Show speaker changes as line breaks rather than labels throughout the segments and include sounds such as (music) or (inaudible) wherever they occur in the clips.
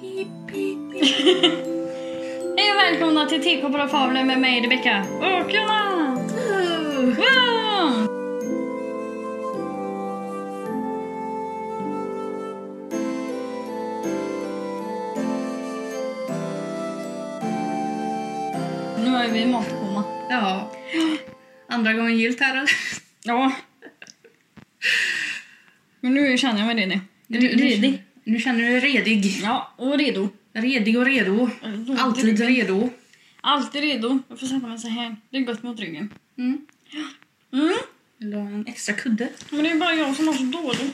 Pip, pip, pip. (laughs)
Hej och välkomna till TK på Fabler med mig Rebecka och Jonna!
Uh.
Wow! Nu är vi i matkoma.
Ja. Andra gången gillt här eller?
Ja. Men nu känner jag mig redig.
Nu, nu känner du dig redig.
Ja, och redo.
Redig och redo. Alltid redo.
Alltid redo. Jag får sätta mig så här. Det är gott mot ryggen.
Mm.
Mm.
Vill du ha en extra kudde?
Men det är bara jag som har så dålig...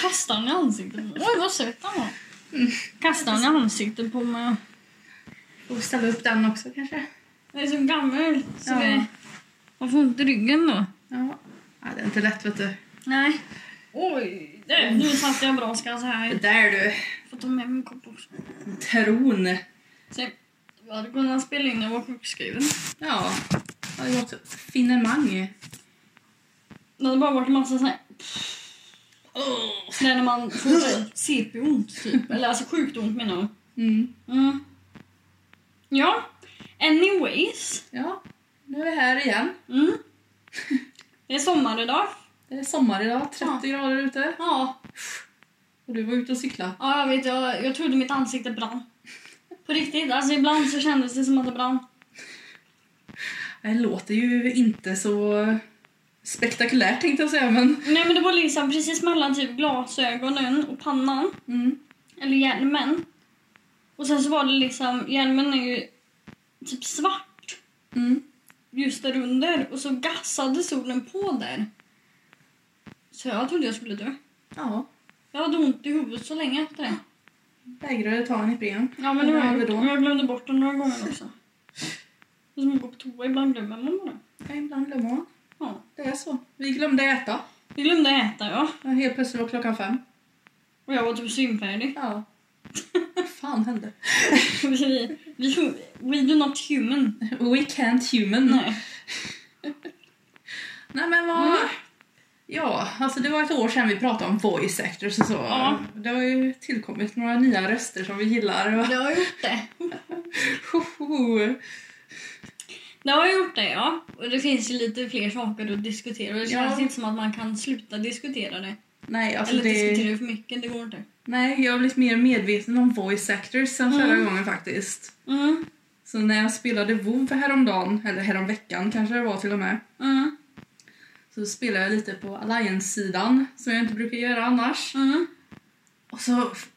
Kastar han i ansiktet på mig? Oj, vad söt han var. Kastar han i ansiktet på mig?
Får vi ställa upp den också kanske?
Jag är så gammal. Så
Ja.
det... Man får ont i ryggen då.
Ja. ja. Det är inte lätt vet du.
Nej. Oj, där. nu satt jag bra ska jag säga.
där du.
Får ta med min kopp också.
Tron.
Sen, jag hade kunnat spela in när jag var sjukskriven.
Ja. Det har gått finemang.
Det hade bara varit massa sån här... När man får så här CP-ont typ. Eller alltså sjukt ont menar jag.
Mm.
Mm. Ja, anyways.
Ja. Nu är vi här igen.
Mm. Det är sommar idag.
Det är sommar idag. 30 grader ute.
Ja,
Och du var ute och cykla.
ja jag vet. Jag, jag trodde mitt ansikte brann. På riktigt. Alltså ibland så kändes det som att det brann.
Det låter ju inte så spektakulärt tänkte jag säga men...
Nej men det var liksom precis mellan typ glasögonen och pannan.
Mm.
Eller hjälmen. Och sen så var det liksom, hjälmen är ju typ svart
Mm.
just där under. Och så gassade solen på där. Så jag trodde jag skulle dö.
Ja.
Jag hade ont i huvudet så länge efter det.
Vägrade ta en Ipren.
Ja, men nu har jag
Vad
gjort
då?
det. Men Jag glömde bort den några gånger också. Det är som att gå på toa, ibland glömmer man det.
Ja, ibland glömmer man.
Ja.
Det är så. Vi glömde äta.
Vi glömde äta, ja.
Ja, Helt plötsligt var klockan fem.
Och jag var typ synfärdig. (laughs)
Ja. (laughs) Vad fan hände?
vi, vi, we do not human.
We can't human.
Nej.
Nej men vad...
Mm.
Ja, alltså det var ett år sedan vi pratade om voice actors och så.
Ja.
Det har ju tillkommit några nya röster som vi gillar. (laughs)
Det har gjort det.
Hoho.
Det har gjort det, ja. Och det finns ju lite fler saker att diskutera. Och det känns
Ja.
inte som att man kan sluta diskutera det.
Nej, alltså
Eller
det...
diskutera det för mycket, det går inte.
Nej, jag har blivit mer medveten om voice actors sen förra gången faktiskt.
Mm,
Så när jag spelade WoW häromdagen, eller häromveckan kanske det var till och med,
mm,
så spelade jag lite på Alliance-sidan som jag inte brukar göra annars.
mm.
Och så f-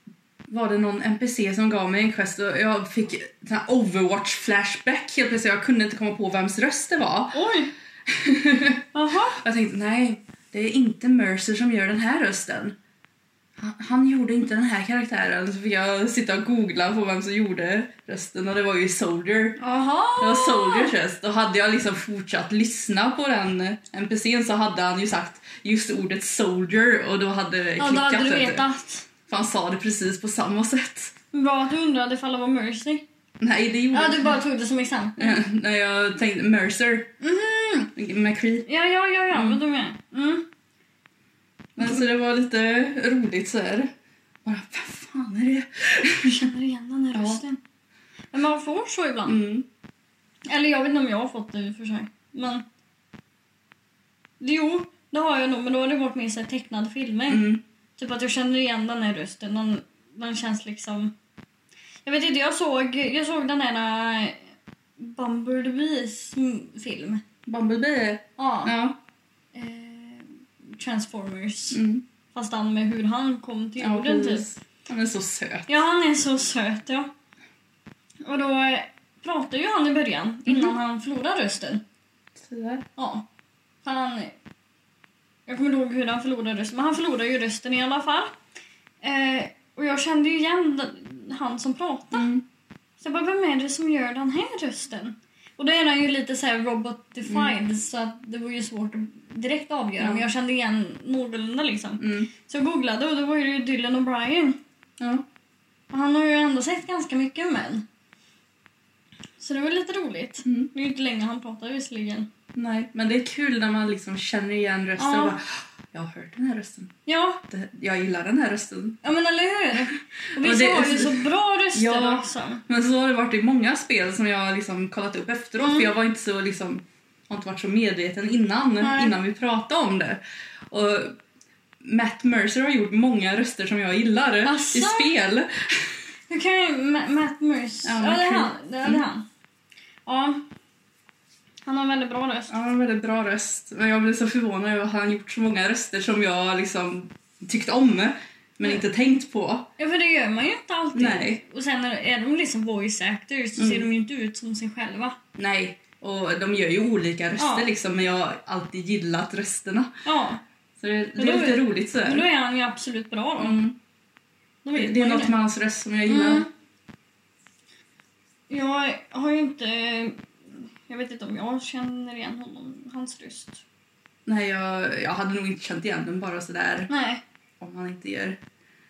var det någon NPC som gav mig en quest och jag fick sån här Overwatch-flashback helt plötsligt. Jag kunde inte komma på vems röst det var. (laughs)
Oj! Jaha.
Jag tänkte nej, det är inte Mercer som gör den här rösten. Han, han gjorde inte den här karaktären. Så fick jag sitta och googla på vem som gjorde rösten och det var ju Soldier. Det
Jaha!
var Soldiers röst och hade jag liksom fortsatt lyssna på den NPCn så hade han ju sagt just ordet soldier och då hade det
Ja,
klickat.
då hade du
vet du.
vetat.
För han sa det precis på samma sätt.
Bra att du undrade ifall det var Mercy.
Nej, det gjorde
Ja,
(laughs)
du bara tog det som exempel.
När jag tänkte Mercer,
Mhm.
McCree.
Ja, ja, ja, ja, vad du menar. Mm.
Men så det var lite roligt så här. Bara, vad fan är det?
Jag känner igen den här
Ja.
rösten. Men man får så ibland.
Mm.
Eller jag vet inte om jag har fått det i och för sig. Men... Jo, det har jag nog, men då har det varit mer så här tecknade filmer.
Mm.
Typ att jag känner igen den här rösten. Den, den känns liksom... Jag vet inte, jag såg, jag såg den här äh, Bumblebees mm, film.
Bumblebee?
Ja.
Ja.
Eh, Transformers.
Mm.
Fast han med hur han kom till
ja
jorden typ.
precis. Han är så söt.
Ja, han är så söt, ja. Och då eh, pratade ju han i
Mhm.
början, innan han förlorade rösten.
Så där.
Ja. Han... Jag kommer inte ihåg hur han förlorade rösten, men han förlorade ju rösten i alla fall. Eh, och jag kände ju igen den- han som pratade.
Mm.
Så jag bara, vem är det som gör den här rösten? Och då är han ju lite så här robot-defined, så att det var ju svårt att direkt avgöra.
Mm. Ja.
Men jag kände igen någorlunda liksom.
Mm.
Så jag googlade och då var det ju Dylan O'Brien.
Ja.
Och han har ju ändå sett ganska mycket män. Så det var lite roligt.
Mm.
Det är ju inte länge han pratar visserligen.
Nej, men det är kul när man liksom känner igen rösten
Ja.
och bara Jag har hört den här rösten.
Ja,
Det, jag gillar den här rösten. (laughs)
Ja men eller hur? Och
Och
Vissa
det-
har ju så bra röster
Ja.
också.
Men så har det varit i många spel som jag har liksom kollat upp efteråt
Mm.
för jag var inte så liksom har inte varit så medveten innan
Nej.
innan vi pratade om det. Och Matt Mercer har gjort många röster som jag gillar
Asså?
i spel.
Nu kan ju Ma- Matt Merce.
Ja, Mm.
Ja,
Matt
det är
Merce.
han. Det är det han. Ja. Han har en väldigt bra röst.
Ja, en väldigt bra röst. Men jag blev så förvånad över att han gjort så många röster som jag liksom tyckt om
Mm.
men inte tänkt på.
Ja, för det gör man ju inte alltid.
Nej. Mm.
Och sen när är de liksom voice actors så ser de ju inte ut som sig själva.
Nej, och de gör ju olika röster
Ja.
liksom men jag har alltid gillat rösterna.
Ja,
Så det,
Men
det är
då-
lite roligt sådär.
men då är han ju absolut bra då.
Mm.
då
Det,
vet
det är
man ju
något med hans röst som jag gillar.
Mm. Jag har ju inte... Jag vet inte om jag känner igen honom, hans röst.
Nej, jag, jag hade nog inte känt igen den bara sådär
Nej,
om han inte gör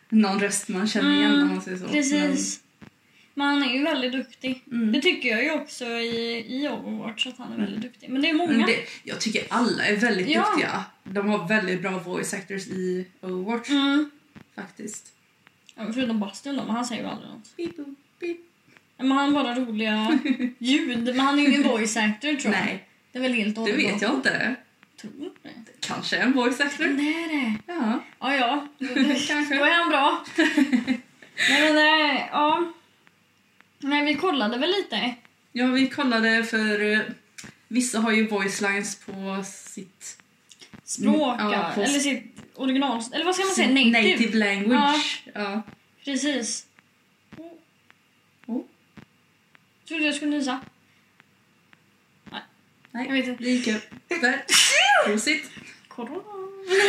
någon röst man känner igen
Mm,
om man säger så.
precis. Men han är ju väldigt duktig.
Men, mm.
Det tycker jag ju också i, i Overwatch, att han är väldigt duktig. Men det är många.
Men Mm, det, jag tycker alla är väldigt
Ja.
duktiga. De har väldigt bra voice actors i Overwatch
Mm.
faktiskt.
Ja, Förutom Bastion då, men han säger ju aldrig något.
Beep, beep.
Men han har bara
(laughs)
roliga ljud. Men han är ju ingen voice actor tror jag.
Nej,
Det är väl helt
det vet jag inte.
Tror du det?
Kanske en voice actor.
Nej, det.
Ja, (laughs)
Ja, ja. Då
kanske.
är
(laughs)
han bra. Nej, men eh, ja. Nej, vi kollade väl lite.
Ja, vi kollade för eh, vissa har ju voice lines på sitt
Språk,
Mm, ja,
ja,
på-
eller sitt original... Eller vad ska man säga? Native.
native language. Ja.
Precis. Oh.
Oh.
Trodde jag skulle nysa. Nej.
Nej.
Jag vet inte.
Det gick upp.
(laughs)
Där. Prosit.
Corona.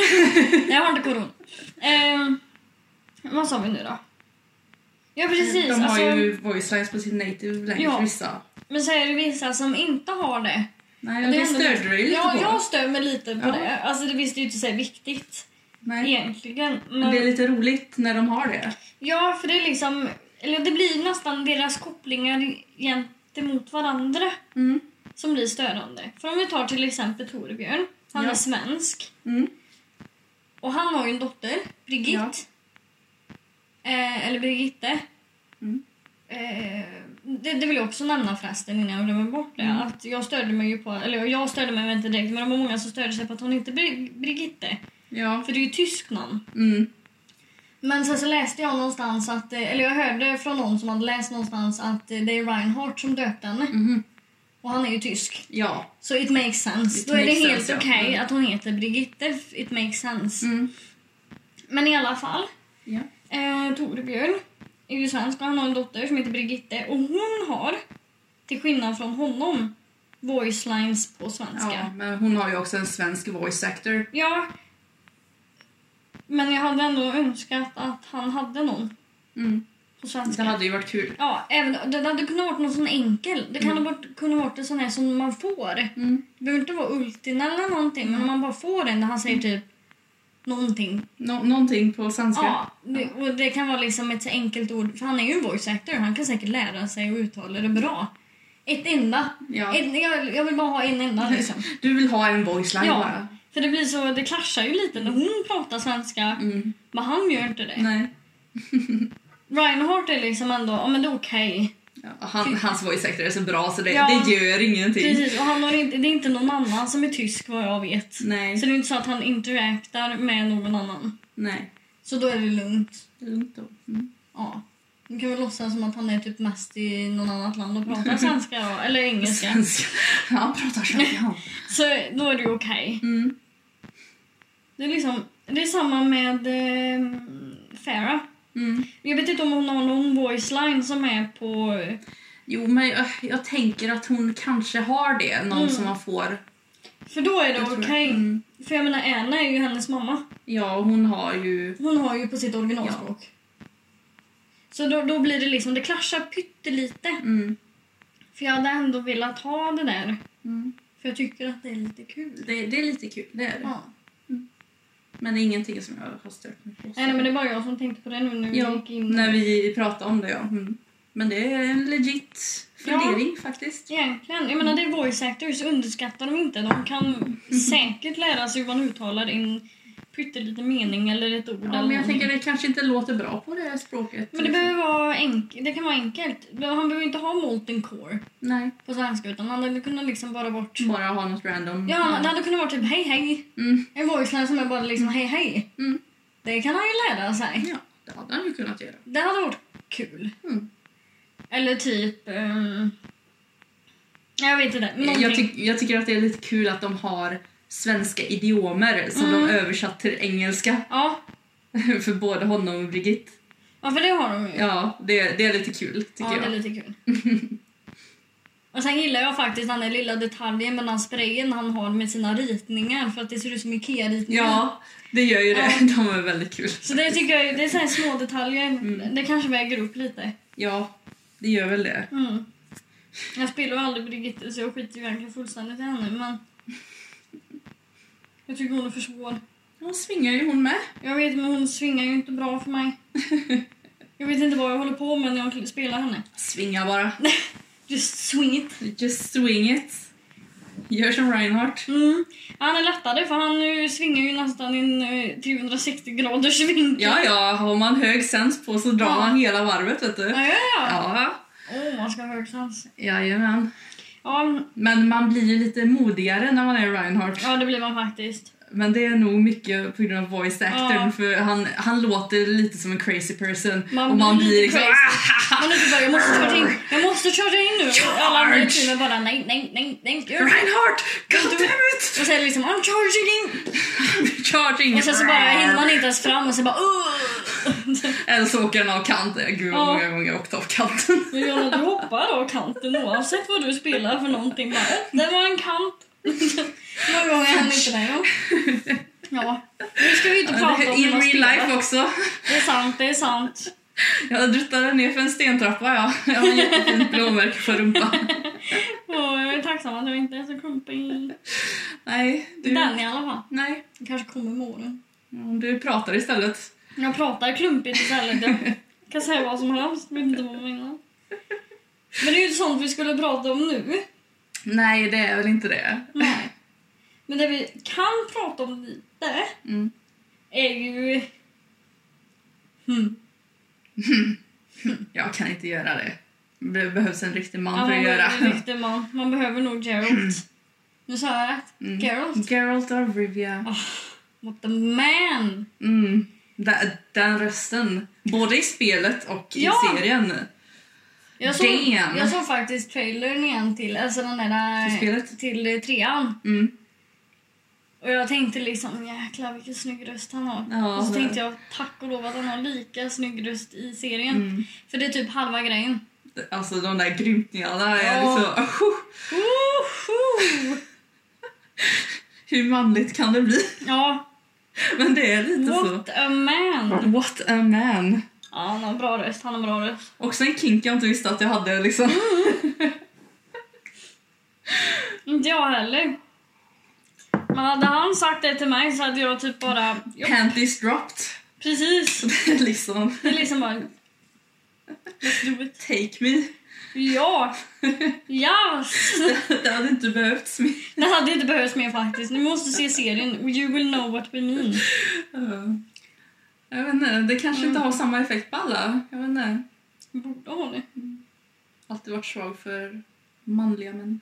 (laughs) jag har inte corona. Eh, vad sa vi nu då? Ja, precis.
De har
alltså,
ju voice lines på sin native language,
Ja.
vissa.
Men så är det vissa som inte har det.
Nej,
Och
det,
ändå-
störde dig lite
ja,
på.
Jag stör mig lite på
Ja.
det. Alltså, det visste ju inte så här viktigt
Nej.
egentligen.
Men
Men,
det är lite roligt när de har det.
Ja, för det är liksom... Eller det blir nästan deras kopplingar gentemot varandra
Mm.
som blir störande. För om vi tar till exempel Torbjörn. Han
Ja.
är svensk.
Mm.
Och han har ju en dotter, Brigitte. Eh, eller Brigitte.
Mm.
Eh, det, det vill jag också nämna förresten innan jag glömmer bort det.
Mm.
Att jag störde mig ju på, eller jag störde mig inte direkt men det var många som störde sig på att hon inte är Bri- Brigitte.
Ja.
För det är ju tysk namn.
Mm.
Men sen så läste jag någonstans att, eh, eller jag hörde från någon som hade läst någonstans att eh, det är Reinhardt som döpte henne.
Mhm.
Och han är ju tysk.
Ja.
Så it makes sense.
It
Då är det
makes
helt
sense, ja.
okej
Mm.
att hon heter Brigitte. It makes sense.
Mm.
Men i alla fall.
ja.
Eh, Torbjörn är ju svensk och han har en dotter som heter Brigitte. Och hon har, till skillnad från honom, voice lines på svenska.
ja. Men hon har ju också en svensk voice actor.
Ja. Men jag hade ändå önskat att han hade någon
Mm.
på
Det
svenska.
hade ju varit kul.
Ja, även, det hade kunnat vara någon sån enkel. Det kan ha varit, kunnat vara en sån här som man får.
Mm.
Det behöver inte vara Ultin eller någonting, men om man bara får den där han säger
Mm.
typ någonting.
Nå- någonting på svenska.
Ja, det, och det kan vara liksom ett så enkelt ord, för han är ju en voice actor, han kan säkert lära sig och uttala det bra. Ett enda.
Ja.
Ett, jag, jag vill bara ha en
(laughs)
enda liksom.
Du vill ha en voice line
Ja,
bara?
för det blir så, det klaschar ju lite när hon pratar svenska,
Mm.
men han gör inte det.
Nej.
Reinhardt är liksom ändå, ja men det är okej.
Ja. Han, hans voice actor är så bra så det,
Ja.
det gör ingenting.
Precis, och han har inte, det är inte någon annan som är tysk vad jag vet.
Nej.
Så det är inte så att han interaktar med någon annan.
Nej.
Så då är det lugnt.
Det är lugnt då. Mm.
Ja. Nu kan vi låtsas som att han är typ mest i någon annat land och
(laughs)
pratar svenska då, eller engelska.
Svenska. (laughs) Han pratar svenska han.
Så då är det ju okej.
(laughs) Mm.
Det är liksom, det är samma med eh, Farah.
Mm.
Jag vet inte om hon har någon voice line som är på...
Jo, men jag, jag tänker att hon kanske har det. Någon
Mm.
som man får.
För då är
Det
det
tror jag.
okej.
Mm.
För jag menar Anna är ju hennes mamma.
Ja, och hon har ju...
Hon har ju på sitt originalspråk. Så då, då blir det liksom, det klaschar pyttelite.
Mm.
För jag hade ändå velat ha det där.
Mm.
För jag tycker att det är lite kul.
Det, det är lite kul, det är det.
Ja.
Men det är ingenting som jag har stört mig på.
Nej, nej, men det är bara jag som tänkte på det nu när vi
ja,
gick in.
när vi pratade om det, ja. Mm. Men det är en legit
Ja.
fundering faktiskt.
Egentligen, jag menar det är Mhm. voice actors, underskattar dem inte. De kan säkert lära sig hur man uttalar en pytteliten mening eller ett ord.
Ja,
eller
men jag
någonting.
tänker det kanske inte låter bra på det här språket.
men det, behöver vara enk- det kan vara enkelt. Han behöver inte ha molten core
Nej,
på svenska utan han hade kunnat liksom bara varit...
bara ha något random.
Ja, han- det hade kunnat vara typ hej hej.
Mm.
En voiceline som är bara liksom hej hej.
Mm.
Det kan han ju lära sig.
ja, det hade han ju kunnat göra.
Det hade varit kul.
Mm.
Eller typ... ehm, jag vet inte. Någonting.
Jag, tyck- jag tycker att det är lite kul att de har svenska idiomer som
Mm.
de översatt till engelska (laughs)
ja,
för både honom och Brigitte.
ja, för det har de ju.
Ja, det, det är lite kul tycker
ja, det
jag.
är lite kul.
(laughs)
Och sen gillar jag faktiskt den där lilla detaljen mellan sprayen han har med sina ritningar för att det ser ut som Ikea-ritningar.
Ja, det gör ju det. (laughs) De är väldigt kul.
Så det tycker jag det är så här små detaljer.
Mm.
Det kanske väger upp lite.
Ja, det gör väl det. (laughs)
Mm. Jag spelar ju aldrig Brigitte så jag skiter ju egentligen fullständigt i henne men... Jag tycker hon är för svår.
Hon svingar ju hon med.
Jag vet men hon svingar ju inte bra för mig. Jag vet inte vad jag håller på med när jag spelar henne.
Svinga bara.
Just swing it.
Just swing it. Gör som Reinhardt.
Mm. Han är lättare för han eh, svingar ju nästan i en eh, 360 graders vinkel.
Ja, ja, har man hög sens på så drar
Ja.
man hela varvet, vet du.
ja, ja. ja.
Ja,
Åh, man ska ha hög sans.
jajamän.
Ja,
Men man blir ju lite modigare när man är Reinhardt.
ja, det blir man faktiskt.
Men det är nog mycket på grund av voice actorn
Ja.
för han, han låter lite som en crazy person.
Man
och man
blir
blir
lite
liksom... "Ah,
Man är typ bara, jag måste köra in, jag måste köra in nu. Och alla andra i teamet bara, nej, nej, nej, nej, gör
(laughs)
det.
Reinhardt! God damn it! (laughs)
Och sen liksom, I'm charging in.
Charging!
Och sen så bara hinner man inte ens fram och så bara, "Ugh."
Eller så åker han av kanten. Gud vad
Ja.
många gånger jag åkte av kanten.
Men Jonna, du hoppar av kanten oavsett vad du spelar för någonting. Bara, "Åh, det var en kant. Någon gång är han inte där. ja. Ja, nu ska vi inte
Ja, det
prata
är (laughs)
om
In
hur man
real
spelar.
life också.
Det är sant, det är sant.
Jag druttade ner för en stentrappa ja. Jag har ett jättefint blåmärke på rumpan.
Och jag är tacksam att jag inte är så klumpig.
Nej, du...
Den i alla fall.
Nej.
Det kanske kommer med åren.
Ja, Du pratar istället.
Jag pratar klumpigt istället. Jag kan säga vad som helst, men inte vad jag menar. Men det är ju inte sånt vi skulle prata om nu.
Nej, det är väl inte det.
Nej. Men det vi kan prata om lite
Mm.
är ju... Hmm.
Jag kan inte göra det. Det behövs en riktig man
Ja,
för
man
att göra.
behöver en riktig man. Man behöver nog Geralt. Nu sa jag rätt.
Mm.
Geralt. Ah,
Geralt of Rivia.
What the man!
Mm. Den, den rösten. Både i spelet och i
Ja.
serien.
Jag såg,
Damn.
jag såg faktiskt trailern igen till, alltså den där,
Till spelet?
till eh, trean.
Mm.
Och jag tänkte liksom jäklar vilken snygg röst han har.
Ja,
och så
det-
tänkte jag tack och lov att han har lika snygg röst i serien.
Mm.
För det är typ halva grejen.
Alltså de där grymtningarna är
Ja.
liksom... Oh,
Woho!
hur manligt kan det bli? (laughs)
ja,
Men det är lite så.
what a man!
What a man.
Ja, han har bra röst, han har bra röst.
Också en kink jag inte visste att jag hade liksom.
Mm. Inte jag heller. Men hade han sagt det till mig så hade jag typ bara... Jo,
Panties dropped. (laughs)
precis!
Det är liksom,
Det är liksom bara... Let's do it.
take me. (laughs)
Ja! Yes!
Det hade inte behövts mer.
Det hade inte behövts mer faktiskt. Ni måste se serien. You will know what we mean.
Ja. Jag vet inte, det kanske inte har samma effekt på alla. Jag vet inte.
Borde ha det.
Alltid varit svag för manliga män.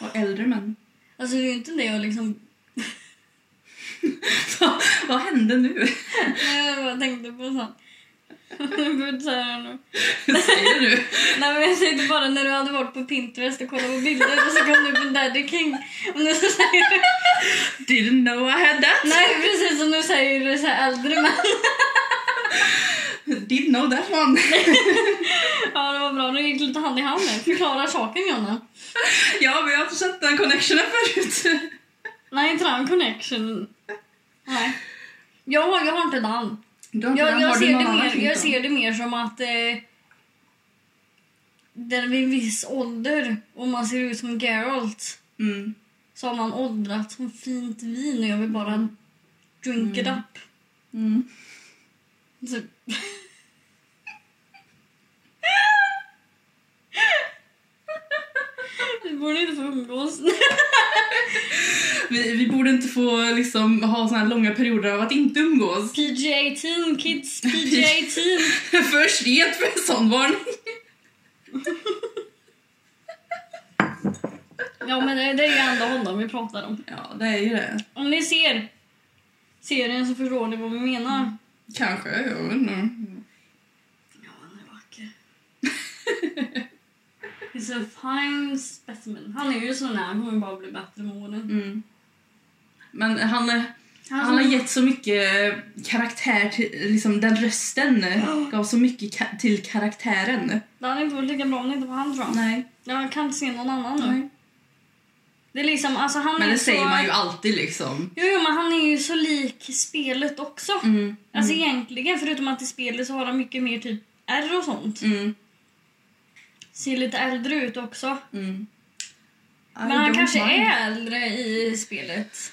Och äldre män. (laughs)
Alltså det är ju inte det jag liksom...
Vad hände nu? (laughs)
Nej, Jag bara tänkte på sånt. Jag behöver inte säga det nu.
Säger du?
Nej men jag tänkte bara när du hade varit på Pinterest och kollat på bilder och så kom du på Daddy King. Och nu så säger du...
Didn't know I had that. (laughs)
Nej precis och nu säger du så här äldre män.
Didn't know that one. (laughs)
Ja det var bra, nu gick lite hand i hand där. Förklara saken Jonna.
ja, men jag har inte sett den connectionen förut. (laughs)
Nej inte den connection. Nej. Jag har, jag har inte den.
Du har inte
Jag,
den,
jag,
har du
ser,
någon
det
annan
mer,
kink
jag
då?
ser det mer som att eh, där vid en viss ålder, om man ser ut som Geralt
Mm.
så har man åldrats som fint vin och jag vill bara drink it up. Typ.
Mm.
Så, Vi borde inte få umgås.
vi, vi borde inte få liksom, ha såna här långa perioder av att inte umgås. (laughs)
PG-18 kids, PG-18.
För sent för en sån varning.
Ja men det, det är ju ändå honom vi pratar om.
(laughs) Ja, det är ju det.
Om ni ser serien så förstår ni vad vi menar.
Kanske, jag vet inte.
Ja, han är vacker. (laughs) He's a fine specimen. Han är ju sån här, han kommer bara bli bättre med åren.
Mm. Men han, är- han har gett så mycket karaktär till liksom, den rösten. Gav så mycket ka- till karaktären.
Det hade inte varit lika bra om det inte var han tror jag.
Nej.
Jag kan inte se någon annan nu.
Nej.
Det är liksom, alltså han
Men
är
det
så...
säger man ju alltid liksom.
Jo, jo, men han är ju så lik spelet också.
Mm.
Alltså egentligen, förutom att i spelet så har han mycket mer typ R och sånt.
Mm.
Ser lite äldre ut också.
Mm. I
Men han
don't
kanske
mind.
är äldre i spelet.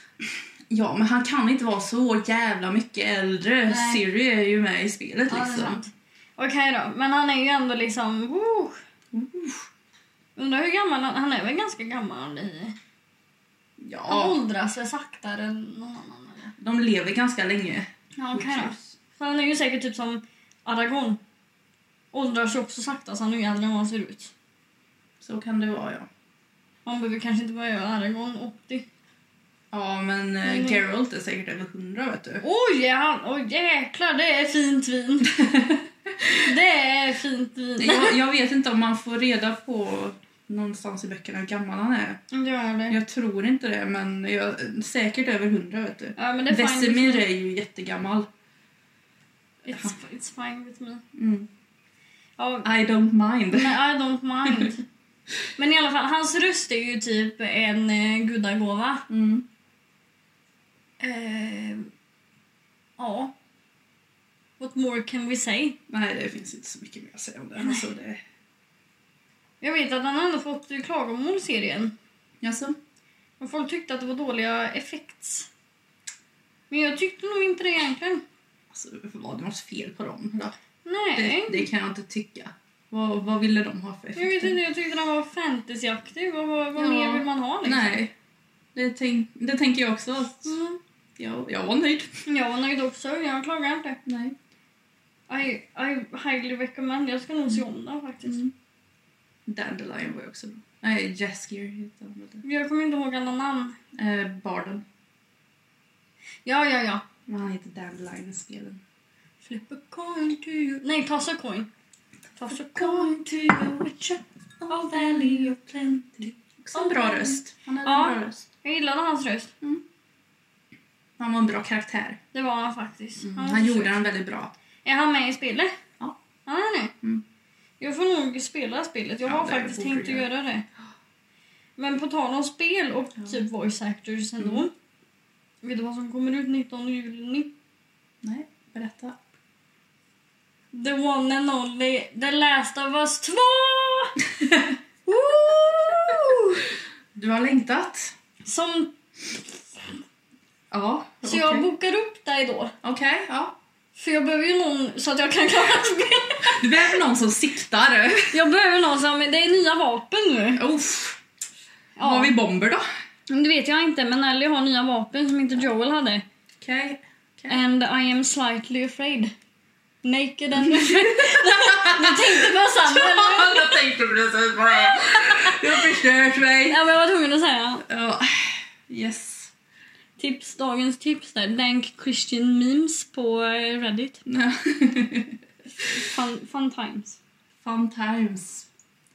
Ja, men han kan inte vara så jävla mycket äldre.
Nej.
Siri är ju med i spelet
Ja, det är
liksom.
sant. Okej då, men han är ju ändå liksom... Woo. Undrar hur gammal han Han är väl ganska gammal i... Han
Ja,
åldras väl saktare än någon annan eller?
de lever ganska länge.
Ja, okej då. Så han är ju säkert typ som Aragorn. Åldras ju också sakta så han är ju äldre än vad han ser ut.
Så kan det vara, ja.
Man behöver kanske inte vara över Aragorn 80.
Ja, men eh,
Mm.
Geralt är säkert över 100, vet du.
Oj, är han, oj jäklar, det är fint vin.
(laughs)
det är fint vin.
Jag, jag vet inte om man får reda på någonstans i böckerna hur gammal han är.
Gör det.
Jag tror inte det, men jag, säkert över 100, vet du.
Ja, men det är fine liksom.
Vesemir
with me.
är ju jättegammal.
It's, it's fine with me.
Mm.
Ja,
I don't mind.
men I don't mind. Men i alla fall, hans röst är ju typ en eh, gudagåva.
Mm.
Eh, ja. What more can we say?
Nej, det finns inte så mycket mer att säga om det. Alltså, det...
Jag vet att han ändå fått eh, klagomål i serien.
Jaså?
Och folk tyckte att det var dåliga effekts. Men jag tyckte nog inte det egentligen.
Alltså, var det något fel på dem? Då?
Nej.
Det, det kan jag inte tycka. Vad, vad ville de ha för
Jag vet
effekter?
inte, jag tyckte den var fantasyaktig. Vad, vad, vad
Ja.
mer vill man ha liksom?
Nej, det, tänk, det tänker jag också. Att
Mm.
jag, jag var nöjd.
Jag var nöjd också, jag klagar inte.
Nej.
I, I highly recommend. Jag ska nog se om den faktiskt.
Mm. Dandelion var ju också bra. Nej, Jaskier heter han väl.
Jag kommer inte ihåg alla namn.
Eh, Barden.
Ja, ja, ja.
Men han heter Dandelion i spelen.
Flip a coin to you. Nej, toss a coin. Toss a coin to you, witcher of valley of plenty.
Också en bra röst. Han hade
Ja.
en bra röst.
Jag gillade hans röst.
Han var en bra karaktär.
Det var han faktiskt.
Mm, Han,
var
gjorde
söt.
den väldigt bra.
Är han med i spelet?
Ja.
Han är det?
Mm.
Jag får nog spela spelet. Jag
Ja,
har
det
faktiskt
borde
tänkt
du
att göra det. Men på tal om spel och typ voice actors ändå.
Mm.
Vet du vad som kommer ut 19 juni?
Nej, berätta.
The one and only The Last of Us 2!
Woo! Du har längtat?
Som,
Ja.
så
Okej,
jag bokar upp dig då.
Okej, ja.
För jag behöver ju någon så att jag kan (laughs) klara spelet.
Du behöver någon som siktar.
Jag behöver någon som... Det är nya vapen nu.
Uff.
Ja.
Har vi bomber då?
Men Det vet jag inte, men Ellie har nya vapen som inte Joel hade.
Okej.
And I am slightly afraid. Naked (laughs) and afraid. Du tänkte på samma,
(laughs)
eller?
jag tänkte precis på det. Du har förstört mig.
Ja, men jag var tvungen att säga.
Ja. Yes.
Tips, dagens tips där. Dank Christian memes på eh, Reddit. Fun, fun times.
Fun times.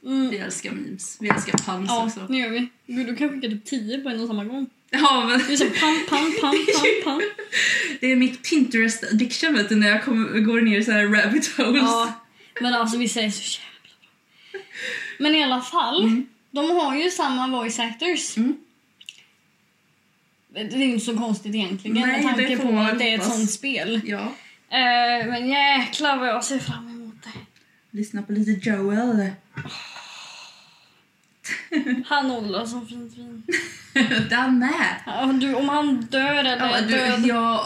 Vi
Mm.
älskar memes. Vi älskar pans
Ja,
också.
nu gör vi. Gud, du kan skicka typ 10 på en och samma gång.
Ja, men
Det är så pam, pam, pam, pam, pam.
(laughs) det är mitt Pinterest addiction vet du, när jag kommer, går ner i såna här rabbit holes.
Ja, men alltså vissa är så jävla bra. Men i alla fall, de har ju samma voice actors.
Mm.
Det är ju inte så konstigt egentligen
Nej,
med tanke
det får
på
man
att det är ett
hoppas.
sånt spel.
ja.
Eh, men jäklar vad jag ser fram emot det.
Lyssna på lite Joel. (laughs)
Han åldras som fint vin.
Den med.
Ja, du, om han dör eller
Ja,
är
du,
död.
jag,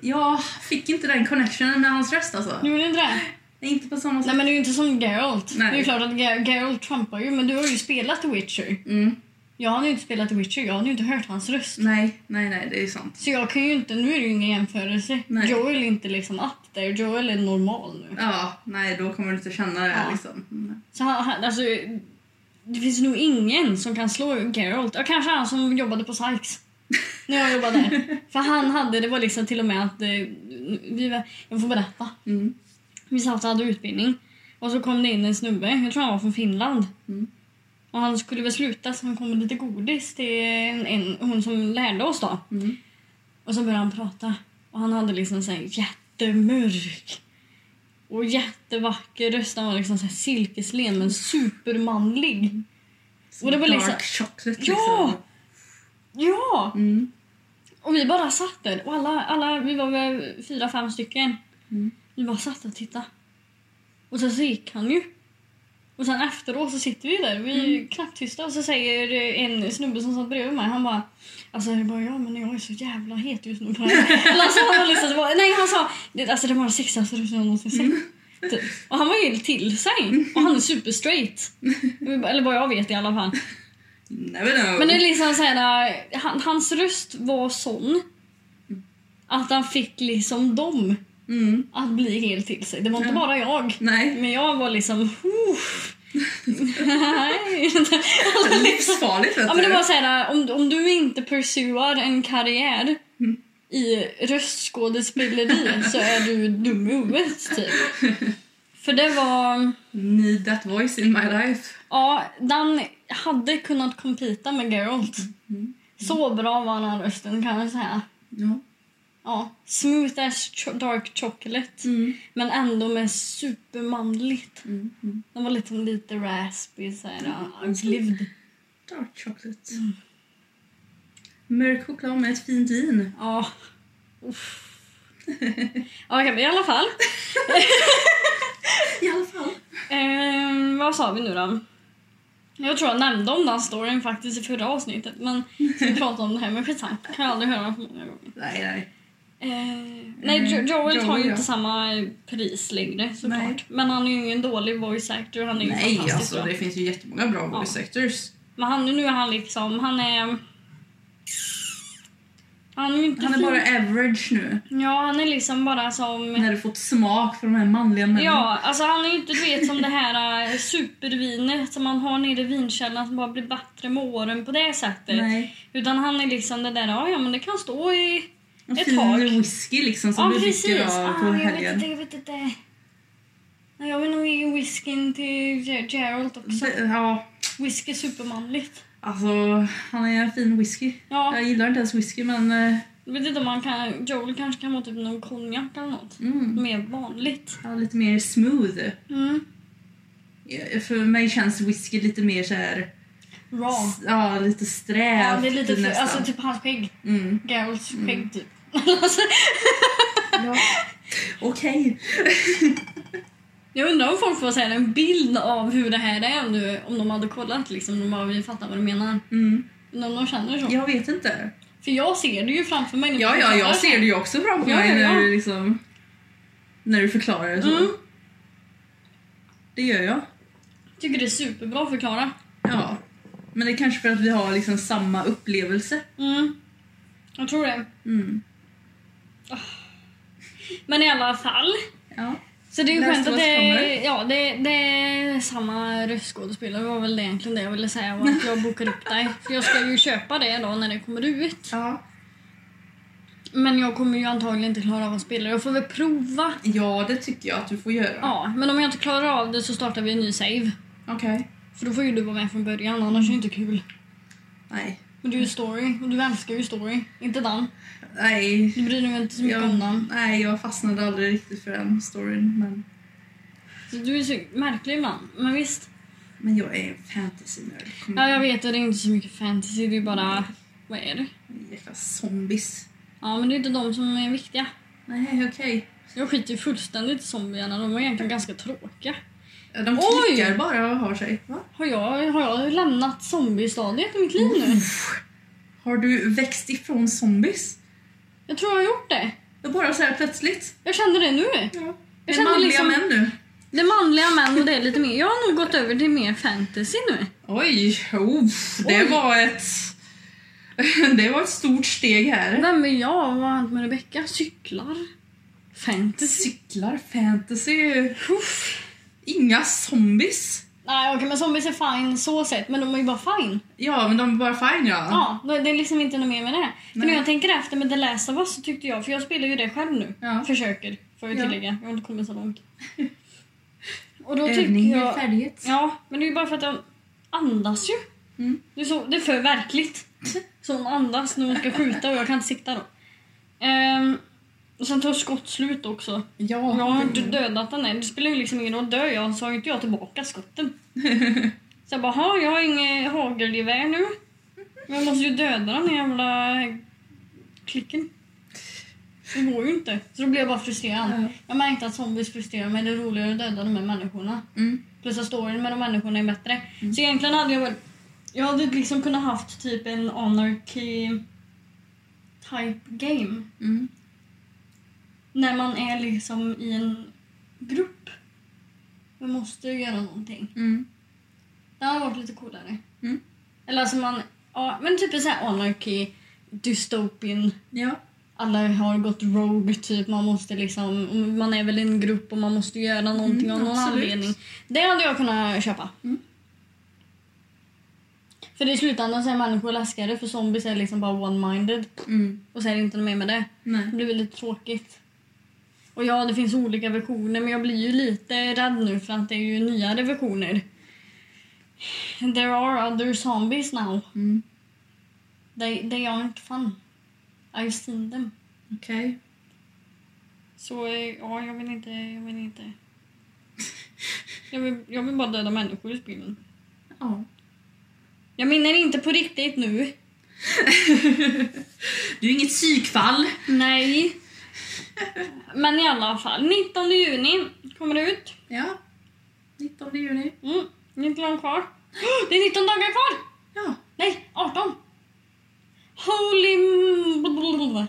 jag fick inte den connectionen med hans röst alltså.
Du gjorde inte det?
Nej, Inte på samma
Nej
sätt.
men det är ju inte som Geralt.
Nej.
Det är ju klart att Ger- Geralt trampar ju men du har ju spelat The Witcher.
Mm.
Jag har ju inte spelat The Witcher, jag har ju inte hört hans röst.
Nej, nej, nej, det är sant.
Så jag kan ju inte, nu är det ju ingen jämförelse.
Nej.
Joel är inte liksom up there, Joel är normal nu.
Ja, nej, då kommer du inte känna det
Ja.
här liksom. Nej.
Så han, han, alltså, det finns nog ingen som kan slå Geralt. Ja, kanske han som jobbade på Sykes. När jag jobbade
(laughs)
där. För han hade, det var liksom till och med att eh, vi var, jag får berätta.
Mm.
Vi satt och hade utbildning och så kom det in en snubbe, jag tror han var från Finland.
Mm.
Och han skulle väl sluta så han kom med lite godis till en, en, hon som lärde oss då.
Mm.
Och så började han prata. Och han hade liksom så här jättemörk och jättevacker röst. Han var liksom så här silkeslen men supermanlig.
Som
Och det var
dark
liksom-
chocolate
Ja!
liksom.
Ja!
Mm.
Och vi bara satt där. Och alla, alla vi var väl fyra, fem stycken.
Mm.
Vi bara satt och tittade. Och sen så gick han ju. Och sen efteråt så sitter vi där, vi är ju knäpptysta och så säger en snubbe som satt bredvid mig, han bara Alltså jag bara, ja men jag är så jävla het just nu (laughs) på det här." Eller alltså, han var liksom, så bara, nej han sa det, alltså det var det sexigaste du någonsin sett. Typ. Och han var helt till sig och han är superstraight. Eller vad jag vet i alla fall.
Never know.
Men det är liksom så här, äh, han, hans röst var sån att han fick liksom dem
mm.
att bli helt till sig. Det var inte
Ja.
bara jag.
Nej,
(laughs) Men jag var liksom... "Uff." Nej.
livsfarligt vet
ja, men det
du.
var så här, eh, om, om du inte pursuar en karriär
Mm.
i röstskådespeleri så är du dum i huvudet, typ. För det var...
Need that voice in my life.
Ja, Dan hade kunnat kompita med Geralt. Så bra var den här rösten, kan jag säga.
Ja.
Ja, smooth as cho- dark chocolate,
Mm.
men ändå med supermanligt.
Mm. Mm.
Den var liksom lite raspy, så här, ja, lived.
Dark chocolate. Mm. Mörk choklad med ett fint vin.
Ja. Uff. (laughs) Ja, Okej, men i alla fall.
I alla fall.
Ehm, vad sa vi nu då? Jag tror jag nämnde om den storyn faktiskt i förra avsnittet, men vi pratade om det här med skitsamma. Kan jag aldrig höra den för många gånger.
Nej, nej.
Eh, nej, jo- Joel
Mm. Joel,
har ju
ja.
inte samma pris längre såklart.
Nej.
Men han är ju ingen dålig voice actor. Han är ju
Nej,
fantastiskt
alltså
bra.
det finns ju jättemånga bra voice actors.
Men han, nu är han liksom, han är... Han är ju inte
Han är
fin.
bara average nu.
Ja, han är liksom bara som...
När du fått smak för de här manliga männen.
Ja, alltså han är ju inte du vet som det här eh, supervinet som man har nere i vinkällan som bara blir bättre med åren på det sättet.
Nej.
Utan han är liksom det där, ja, ja men det kan stå i...
En
Ett
fin
tag.
whisky liksom som
Ja
du dricker
precis,
av
ah,
på
jag vet inte,
helgen.
jag vet inte. Nej, jag vill nog ge whiskyn till Ger- Gerald också.
Det- Ja,
Whisky är supermanligt.
alltså han är en fin whisky.
Ja,
Jag gillar inte ens whisky men... eh,
jag vet inte om man kan... Joel kanske kan ha typ någon konjak eller något.
Mm,
Mer vanligt.
han är lite mer smooth.
Mm.
Ja, För mig känns whisky lite mer så här...
Raw.
s- Ja, lite strävt
Ja, det är lite för,
nästan.
alltså typ hans skägg.
mm.
Geralds skägg typ.
ja. (laughs) Okej.
Jag undrar om folk får säga en bild av hur det här är nu, om de hade kollat liksom, de bara vi fattar vad du menar.
Mm.
Undrar om de känner så.
Jag vet inte.
För jag ser det ju framför mig. när
Ja,
vi
ja,
pratar.
jag ser det ju också framför
Ja,
mig
ja, ja.
när du liksom... När du förklarar det så.
Mm.
Det gör jag.
Tycker det är superbra förklara.
Ja. Men det är kanske för att vi har liksom samma upplevelse.
Mm. Jag tror det.
Mm.
Men i alla fall.
Ja.
Så det är ju
Last
skönt att
Wars
det,
kommer.
ja, det, det är samma röstskådespelare. Det var väl det egentligen det jag ville säga. Och att jag bokar upp dig. För jag ska ju köpa det då när det kommer ut.
Ja.
Men jag kommer ju antagligen inte klara av att spela det. Jag får väl prova.
ja, det tycker jag att du får göra.
Ja, men om jag inte klarar av det så startar vi en ny save.
Okej.
För då får ju du vara med från början, annars är det inte kul.
Nej.
Men du är ju story, och du älskar ju story. Inte den.
Nej.
Du bryr dig väl inte så mycket om
Jag,
den.
nej, jag fastnade aldrig riktigt för den storyn. Men,
Så du är så märklig ibland. Men visst.
men jag är en fantasy-nörd. Kom
Ja, jag
igen.
vet. Och det är inte så mycket fantasy. Det är ju bara... Vad är det?
Jäkla zombies.
Ja, men det är inte de som är viktiga.
Nej, okej.
Jag skiter ju fullständigt i zombierna. De var egentligen ganska tråkiga.
De
Oj!
klickar bara och har sig. Va?
Har jag, har jag lämnat zombiestadiet i mitt liv nu?
Har du växt ifrån zombies?
Jag tror jag har gjort det.
Det är bara så här plötsligt.
Jag kände det nu.
Ja.
Jag
Jag
kände
manliga
liksom-
män nu.
Det är manliga män och det är lite mer. Jag har nog gått över till mer fantasy nu.
Oj, uff, det
Oj.
var ett... Det var ett (laughs) stort steg här.
Vem är jag? Vad har hänt med Rebecka? Cyklar? Fantasy?
Cyklar, fantasy, uff. Inga zombies.
Nej okej men zombies är fine så sett men de är ju bara fine.
Ja, men de är bara fine ja.
Ja, det är liksom inte något mer med det. För
Ah. Nej.
när jag tänker efter med The Last of Us så tyckte jag, för jag spelar ju det själv nu.
Ja.
Försöker, får jag
Ja.
tillägga. Jag har inte kommit
(laughs)
så långt. Och då tycker
Övning ger
jag...
färdighet.
Ja, men det är ju bara för att de andas ju.
Mm.
Det, är så, det är för verkligt. Så hon andas när hon ska skjuta och jag kan inte sikta då. Ehm, och sen tar skott slut också.
Ja.
Jag har inte dödat den än. Det spelar ju liksom ingen roll. Dör jag så har ju inte jag tillbaka skotten. Så jag bara, "Ha, jag har inget hagelgevär nu. Men jag måste ju döda den här jävla klicken. Det går ju inte. Så då blev jag bara frustrerad.
Ja.
Jag märkte att zombies frustrerar mig. Det är roligare att döda de här människorna.
Mm.
Plus att storyn med de människorna är bättre. Så egentligen hade jag väl... Jag hade liksom kunnat haft typ en anarchy type game.
Mm.
När man är liksom i en grupp. Man måste ju göra någonting.
Mm.
Det hade varit lite coolare.
Mm.
Eller alltså man... Ja, men typ en sån här anarchy, dystopian.
Ja.
Alla har gått rogue, typ. Man måste liksom... och Man är väl i en grupp och man måste göra någonting
Mm,
av någon
absolut.
anledning. Det hade jag kunnat köpa.
Mm.
För i slutändan så är människor läskigare för zombies är liksom bara one-minded.
Mm.
Och så är det inte mer med det.
Nej.
Det blir lite tråkigt. Och ja, det finns olika versioner men jag blir ju lite rädd nu för att det är ju nyare versioner. There are other zombies now.
Mm.
They, they aren't fun. I've seen them.
Okej.
Så eh, ja, jag vill inte, jag vill inte. Jag vill, jag vill bara döda människor i spelen.
Ja.
Jag menar inte på riktigt nu.
Du är inget psykfall.
Nej. Men i alla fall, 19 juni kommer det ut.
Ja. 19 juni.
Mm, 19 dagar kvar. (gasps) Det är 19 dagar kvar!
Ja.
Nej, 18! Holy... m-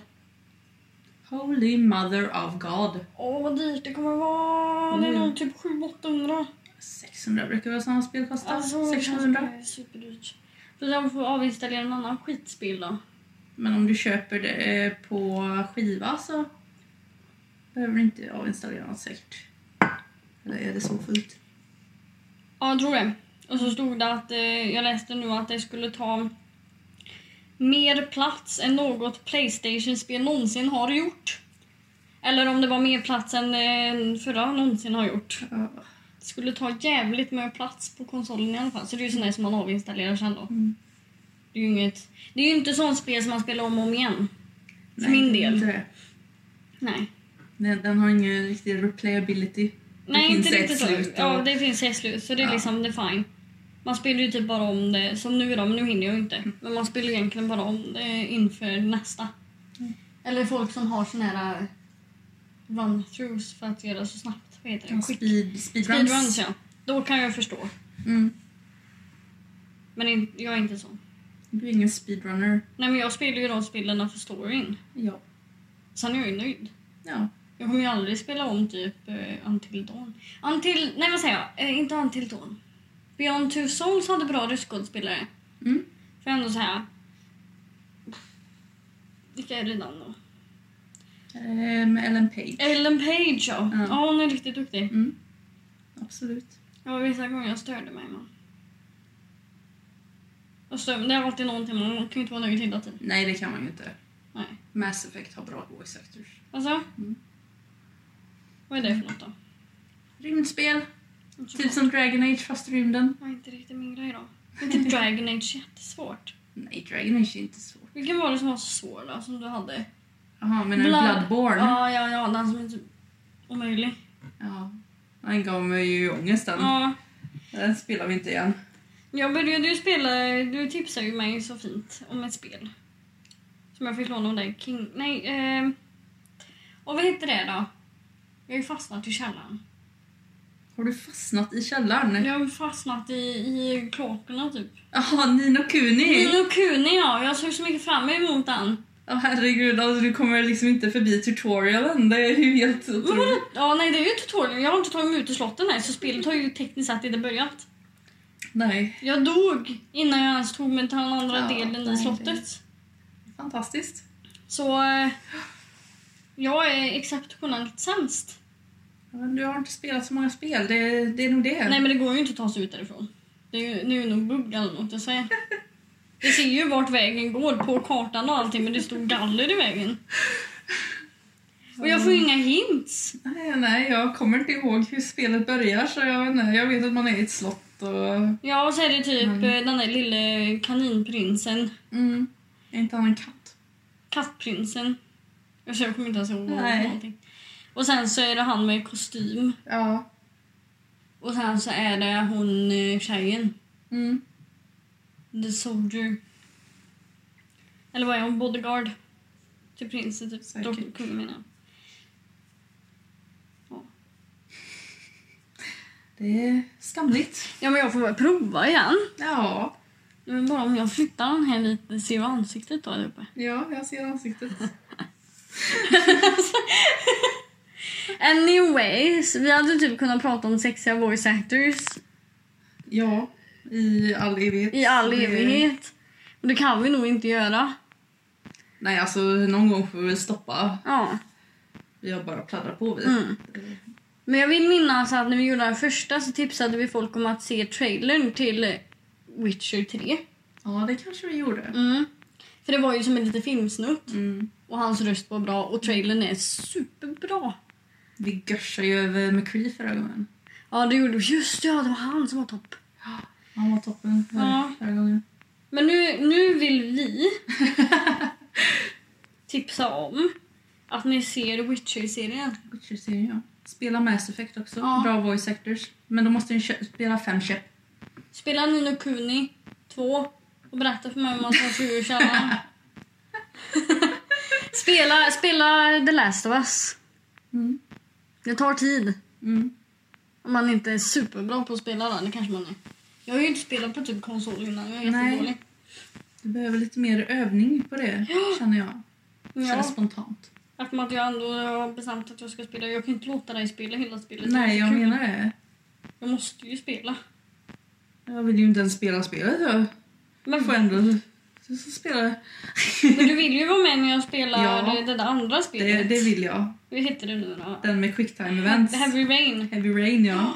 Holy mother of God.
Åh, vad dyrt det kommer vara. Det är
Mm.
nog typ 700-800.
600 brukar väl sådana spel kosta?
Alltså,
600.
Superdyrt. För jag får avinstallera en annan skitspel då.
Men om du köper det eh, på skiva så behöver du inte avinstallera något säkert. Eller är det så fullt?
Ja, jag tror det. Och så stod det att, eh, jag läste nu att det skulle ta mer plats än något Playstation-spel någonsin har gjort. Eller om det var mer plats än eh, förra någonsin har gjort.
Ja.
Det skulle ta jävligt med plats på konsolen i alla fall. Så det är ju sådana som man avinstallerar sen då.
Mm.
Det är ju inget... Det är ju inte sånt spel som man spelar om och om igen. För
Nej,
min del.
Inte det.
Nej.
Den, den har ingen riktig replayability.
Nej,
finns
inte
ett
riktigt så.
slut och-
Ja, det finns ett slut. Så det är
Ja.
liksom, det är fine. Man spelar ju typ bara om det, som nu då, men nu hinner jag ju inte.
Mm.
Men man spelar egentligen bara om det inför nästa.
Mm.
Eller folk som har såna här eh, run-throughs för att göra så snabbt. Vad heter det? Quick-
Speed, speedruns.
Speedruns, ja. Då kan jag förstå.
Mm.
Men in- jag är inte sån.
Du är ingen speedrunner.
Nej, men jag spelar ju de spelen för storyn.
Ja.
Sen är jag ju nöjd.
Ja.
Jag kommer ju aldrig spela om typ uh, Until Dawn. Until, nej vad säger jag? Eh, inte Until Dawn. Beyond Two Souls hade bra röstskådespelare.
Mm.
För ändå så här. Vilka är det namn då?
Eh, Med Ellen Page.
Ellen Page ja.
Ja.
Ja hon är riktigt duktig.
Mm. Absolut.
Det var vissa gånger jag störde mig men. Jag stör, det är alltid någonting man kan ju inte vara nöjd hela tiden.
Nej, det kan man ju inte.
Nej.
Mass Effect har bra voice actors.
Alltså?
Mm.
Vad är det för något då?
Rymdspel,
Alltså,
typ som Dragon Age fast rymden.
Det var inte riktigt min grej då. Det är inte Dragon Age jättesvårt?
Nej, Dragon Age är inte svårt.
Vilken var det som var så svår då, som du hade?
Jaha, men en
Blood-
Bloodborne? Ja.
Ja, ja, ja, den som är typ omöjlig.
Den gav mig ju ångest den.
Ja,
Den spelar vi inte igen.
jag började ju spela, du tipsade ju mig så fint om ett spel. Som jag fick låna av dig, King... Nej, eh... Och vad heter det då? Jag har ju fastnat i källaren.
Har du fastnat i källaren?
Jag har ju fastnat i, i kloakerna typ.
Jaha, Nino Kuni!
Mm. Nino Kuni ja, jag såg så mycket fram emot den.
Ja, herregud, alltså, du kommer liksom inte förbi tutorialen. Det är ju helt
Men vadå?
otroligt.
Ja, nej det är ju tutorial. Jag har inte tagit mig ut ur slotten än så spelet har ju tekniskt sett inte börjat.
Nej,
Jag dog innan jag ens tog mig till den andra
Ja,
delen i
nej,
slottet.
fantastiskt.
Så eh, jag är exceptionellt sämst.
Men du har inte spelat så många spel, det, det är nog det.
Nej men det går ju inte att ta sig ut därifrån. Det är ju, det är ju någon bugg eller något
(laughs)
jag säger. Det ser ju vart vägen går på kartan och allting men det står galler i vägen. Och jag får ju inga hints.
Nej, nej, jag kommer inte ihåg hur spelet börjar så jag, vet inte. jag vet att man är i ett slott och...
Ja och så är det typ
Mm.
eh, den där lille kaninprinsen,
Mm. Är inte han en katt?
kattprinsen. Jag ser- jag kommer inte ens ihåg vad det var
Nej.
för någonting. Och sen så är det han med kostym.
Ja.
Och sen så är det hon eh, tjejen.
Mm.
The Soldier. Eller vad är hon? Bodyguard. Till prinsen, typ.
Säkert.
Dok- Kungen menar jag.
Det är skamligt.
Ja men jag får väl prova igen.
Ja.
Det är bara om jag flyttar den här lite, ser vad ansiktet då är där uppe. (laughs)
Ja, jag ser ansiktet.
Anyways, vi hade typ kunnat prata om sexiga voice actors
ja, i all evighet.
i all
Det-
evighet. Och det kan vi nog inte göra.
Nej, alltså någon gång får vi väl stoppa.
Ja.
Vi har bara pladdrat på vi.
Mm. Men jag vill minnas att när vi gjorde den första så tipsade vi folk om att se trailern till Witcher 3.
Ja, det kanske vi gjorde.
Mm. För det var ju som en liten filmsnutt
Mm.
och hans röst var bra och trailern är superbra.
Vi görsade ju över McCree förra gången.
Ja, det gjorde vi. Just ja, det var han som var topp.
Han var toppen för,
Ja.
förra gången.
Men nu, nu vill vi tipsa om att ni ser Witcher-serien.
Witcher-serien, ja. Spela Mass Effect också.
Ja.
Bra voice actors. Men då måste ni kö- spela fem köp.
Spela Nino Kuni 2 och berätta för mig om man tar sig ur källaren.
(laughs)
spela, spela The Last of Us.
Mm.
Det tar tid.
Mm.
Om man inte är superbra på att spela den, det kanske man är. Jag har ju inte spelat på typ konsol innan, jag är
Nej.
jättedålig.
Du behöver lite mer övning på det, känner jag. Känner
Ja,
spontant.
eftersom att jag ändå har bestämt att jag ska spela. Jag kan inte låta dig spela hela spelet.
Nej, jag
Kul.
menar det.
Jag måste ju spela.
Jag vill ju inte ens spela spelet. Jag
Men,
får ändå... Så så spela.
men du vill ju vara med när jag spelar
Ja.
det, det där andra spelet.
Det, det vill jag.
Hur heter det nu då?
Den med quicktime events.
Heavy Rain.
Heavy Rain, ja.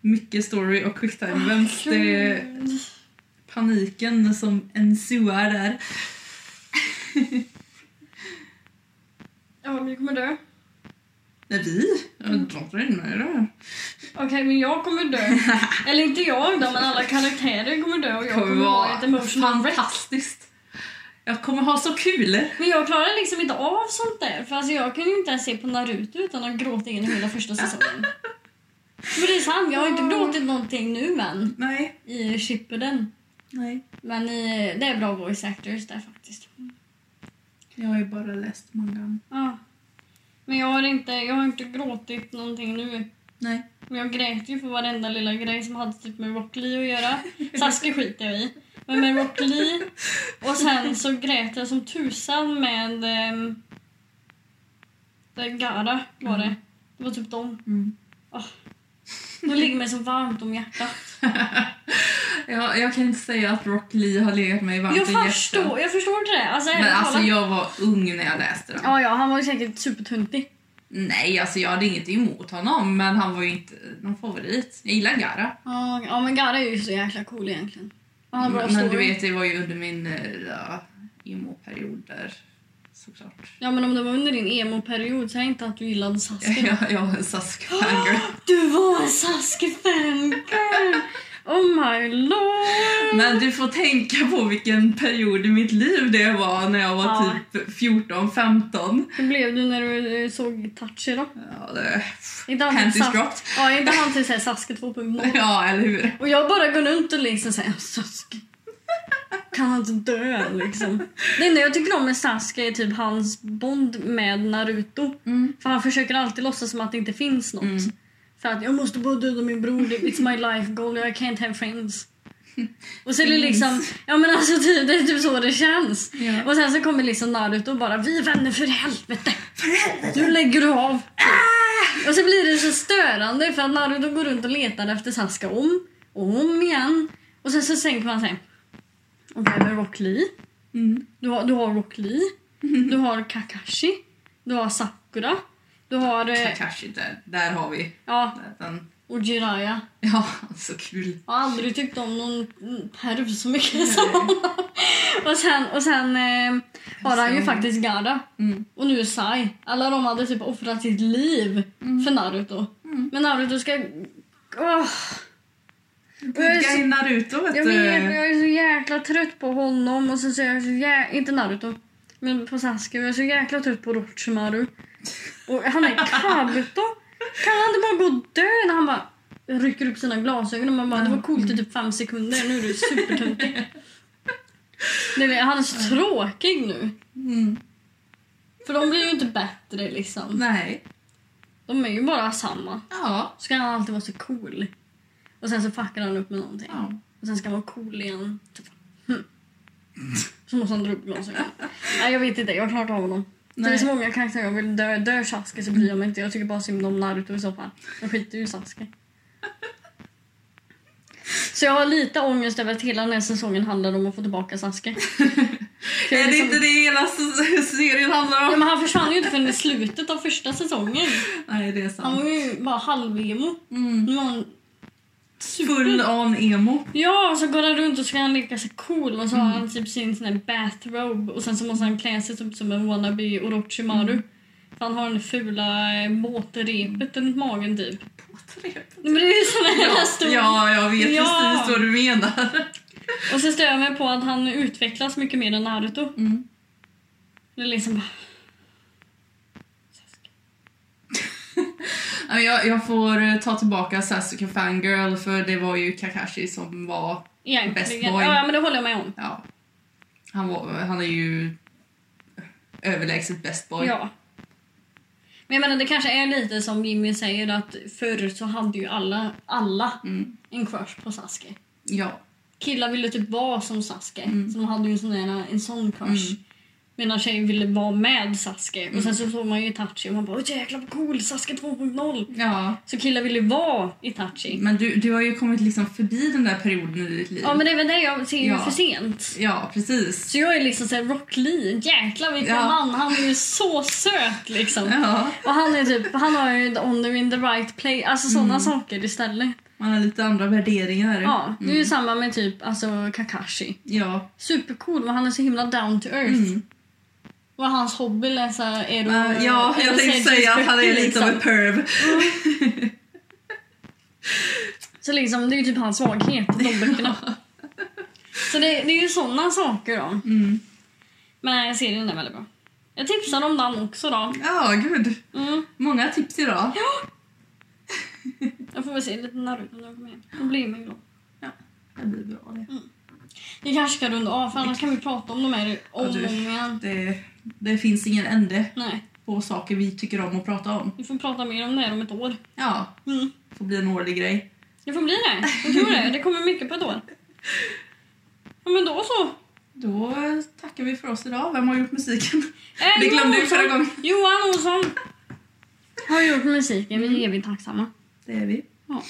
Mycket story och quicktime events. Det är
Gud.
paniken som ensuar där.
Ja, vi kommer dö.
Nej, vi?
Mm.
Jag pratar inte med det.
Okej, men jag kommer (laughs) dö. Eller inte jag då, men alla karaktärer kommer dö och jag kommer, vara ett emotional wreck.
fantastiskt. Jag kommer ha så kul.
Men jag klarar liksom inte av sånt där. För alltså jag kunde ju inte ens se på Naruto utan att gråta igenom hela första säsongen. Men det är sant, jag har inte gråtit någonting nu än.
Nej.
I Shippuden.
Nej.
Men i, det är bra voice actors där faktiskt.
Jag har ju bara läst mangan.
Ja. Men jag har, inte, jag har inte gråtit någonting nu.
Nej.
Men jag grät ju för varenda lilla grej som hade typ med Rock Lee att
(laughs)
göra. Saskia skiter jag i. Men med Rock Lee. Och sen så grät jag som tusan med... ehm, det Gara var det. Det var typ dem.
Mm.
De ligger mig så varmt om hjärtat.
Jag, jag kan inte säga att Rock Lee har legat mig varmt
Jag
i hjärtat.
förstår, jag förstår inte det. Alltså,
Men
ärligt
alltså
talat.
jag var ung när jag läste den.
Ja, ja, han var ju säkert supertuntig.
Nej, alltså jag hade inget emot honom men han var ju inte någon favorit. Jag gillar Gara.
Ja, ja, men Gara är ju så jäkla cool egentligen. Han har bra
Men,
story.
men du vet, det var ju under min eh, ja, emo-period där. Såklart.
Ja, men om det var under din emo-period, säg inte att du
(laughs)
gillade Saskia.
Jag, jag var en Saskia-fangirl.
Du var en Saskefangirl! Oh my lord!
Men du får tänka på vilken period i mitt liv det var när jag var
Ja.
typ 14-15.
Hur blev du när du eh, såg Touchy då?
Ja, det...
Inte han till
Panties
Sas-
dropped.
Ja, inte han till så här Saske 2.0.
Ja, eller hur?
Och jag bara går runt och liksom säger Saske. Kan han inte dö liksom? Det enda jag tycker om med Saske är typ hans bond med Naruto.
Mm.
För han försöker alltid låtsas som att det inte finns något.
Mm.
För att jag måste bara döda min bror, it's my life goal, I can't have friends. Och så är det liksom, ja men alltså typ, det är typ så det känns.
Ja.
Och sen så kommer liksom Naruto och bara vi är vänner för helvete. Ah! Nu lägger du av. Och så blir det så störande för att Naruto går runt och letar efter Sasuke om och om igen. Och sen så tänker man sig, och vem är Rock Lee?
Mm.
Du har, du har Rock Lee, du har Kakashi, du har Sakura, du har... Eh,
Kakashi, där, där har vi
ja,
den.
och Jiraiya.
Ja, så kul.
Jag har aldrig tyckt om någon perv så mycket som honom. Och sen, och sen eh, har han ju
Så-
faktiskt Garda.
Mm.
Och nu Sai. Alla de hade typ offrat sitt liv för Naruto.
Mm.
Men Naruto ska... Åh, Jag är så-
Guy Naruto, vet
jag,
du.
vet, jag är så jäkla trött på honom. Och sen så är jag så jä... Inte Naruto. Men på Sasuke. Jag är så jäkla trött på Orochimaru. Och han är Kabuto. Kan han inte bara gå och dö när han bara rycker upp sina glasögon och man bara det var coolt i typ fem sekunder. Nu är du supertöntig. Nej, nej, han är så tråkig nu.
Mm.
För de blir ju inte bättre liksom.
Nej.
De är ju bara samma.
Ja.
ska han alltid vara så cool. Och sen så fuckar han upp med någonting.
Ja.
Och sen ska han vara cool igen. Typ. Hm. Så måste han dra upp glasögonen. Nej jag vet inte, jag klarar inte av honom. Det är
Nej.
så många karaktärer jag vill dö. Dör Sasuke så bryr jag mig inte. Jag tycker bara synd om Naruto i så fall. Jag skiter ju i Sasuke. Så jag har lite ångest över att hela den här säsongen handlar om att få
(laughs)
tillbaka Sasuke. Jag
Är det
liksom-
inte det hela s- serien handlar
Ja,
om?
men han försvann ju inte förrän i slutet av första säsongen.
Nej, det är
Han
sant.
var ju bara halvemo.
Mm.
Nu var han
Full on
(laughs)
emo.
Ja, och så går han runt och ska han leka sig cool och så har han typ sin sån här bathrobe och sen så måste han klä sig typ som en wannabe Orochimaru.
Mm.
För han har den fula eh, båtrepet runt magen typ.
Påtrepet.
Nej, Men det är ju sån här ja. stor...
Ja, jag vet
Ja.
precis vad du menar.
Och så stör jag mig på att han utvecklas mycket mer än Naruto.
Mm.
Det är liksom bara...
Nej, men Jag, jag får eh, ta tillbaka Sasuke Fangirl för det var ju Kakashi som var... Best
Egentligen.
boy.
Ja, men det håller jag med om.
Ja. Han, var, han är ju överlägset bäst boy.
Ja. Men jag menar, det kanske är lite som Jimmy säger att förr så hade ju alla, alla
Mm.
en crush på Sasuke.
ja.
killar ville typ vara som Sasuke.
Mm.
Så de hade ju en sån, där, en sån crush. Medan tjejer ville vara med Sasuke. Och sen så såg man ju Itachi och man bara "Åh, jäklar vad cool, Sasuke 2.0.
Ja.
Så killar ville vara Itachi.
Men du, du har ju kommit liksom förbi den där perioden i ditt liv.
Ja men även det jag ser ju
Ja.
för sent.
Ja, precis.
Så jag är liksom såhär Rock Lee, jäklar vilken
Ja.
man, han är ju så söt liksom.
Ja,
(laughs) Och han är typ, han har ju the honor in the right place, alltså såna saker istället.
man har lite andra värderingar.
Ja, det är ju samma med typ alltså Kakashi.
Ja.
Supercool men han är så himla down to earth.
Mm.
Vad hans hobby läsa är då...
Äh, ja,
är
jag
då
tänkte
Sedges
säga att han är
böcker,
lite av en
liksom.
perv.
Så liksom, det är ju typ hans svaghet, de böckerna.
(laughs)
Så det, det är ju såna saker då.
Mm.
Men jag ser den är väldigt bra. Jag tipsar om den också då.
Ja, gud.
Mm.
Många tips idag.
Jag får väl se lite Naruto när jag kommer hem. Då blir man ju glad.
Det blir bra det.
Vi kanske ska runda av för annars kan vi prata om de här om
Ja,
och om
du.
igen.
Det, det finns ingen ände
Nej,
på saker vi tycker om att prata om.
vi får prata mer om det här om ett år.
Ja,
Mm.
får bli en årlig grej.
Det får bli det.
(laughs)
Jag tror det. Det kommer mycket på ett år. Ja men då så.
Då tackar vi för oss idag. Vem har gjort musiken? (laughs)
Eh,
Det glömde vi
Johan
förra
Olsson.
gången.
Johan Olsson har gjort musiken. Vi är evigt tacksamma.
Det är vi.
Och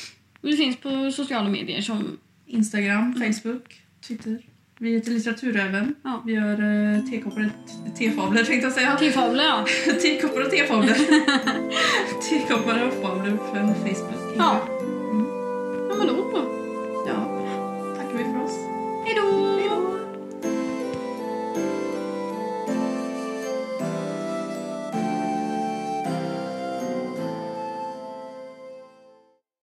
det finns på sociala medier som...
Instagram, Facebook, Twitter. Vi heter Litteraturräven.
Ja.
Vi gör eh, tekoppar och tefabler tänkte jag säga.
Tiffavla, ja.
Tekoppar och tefabler. tekoppar och fabler på Facebook.
ja.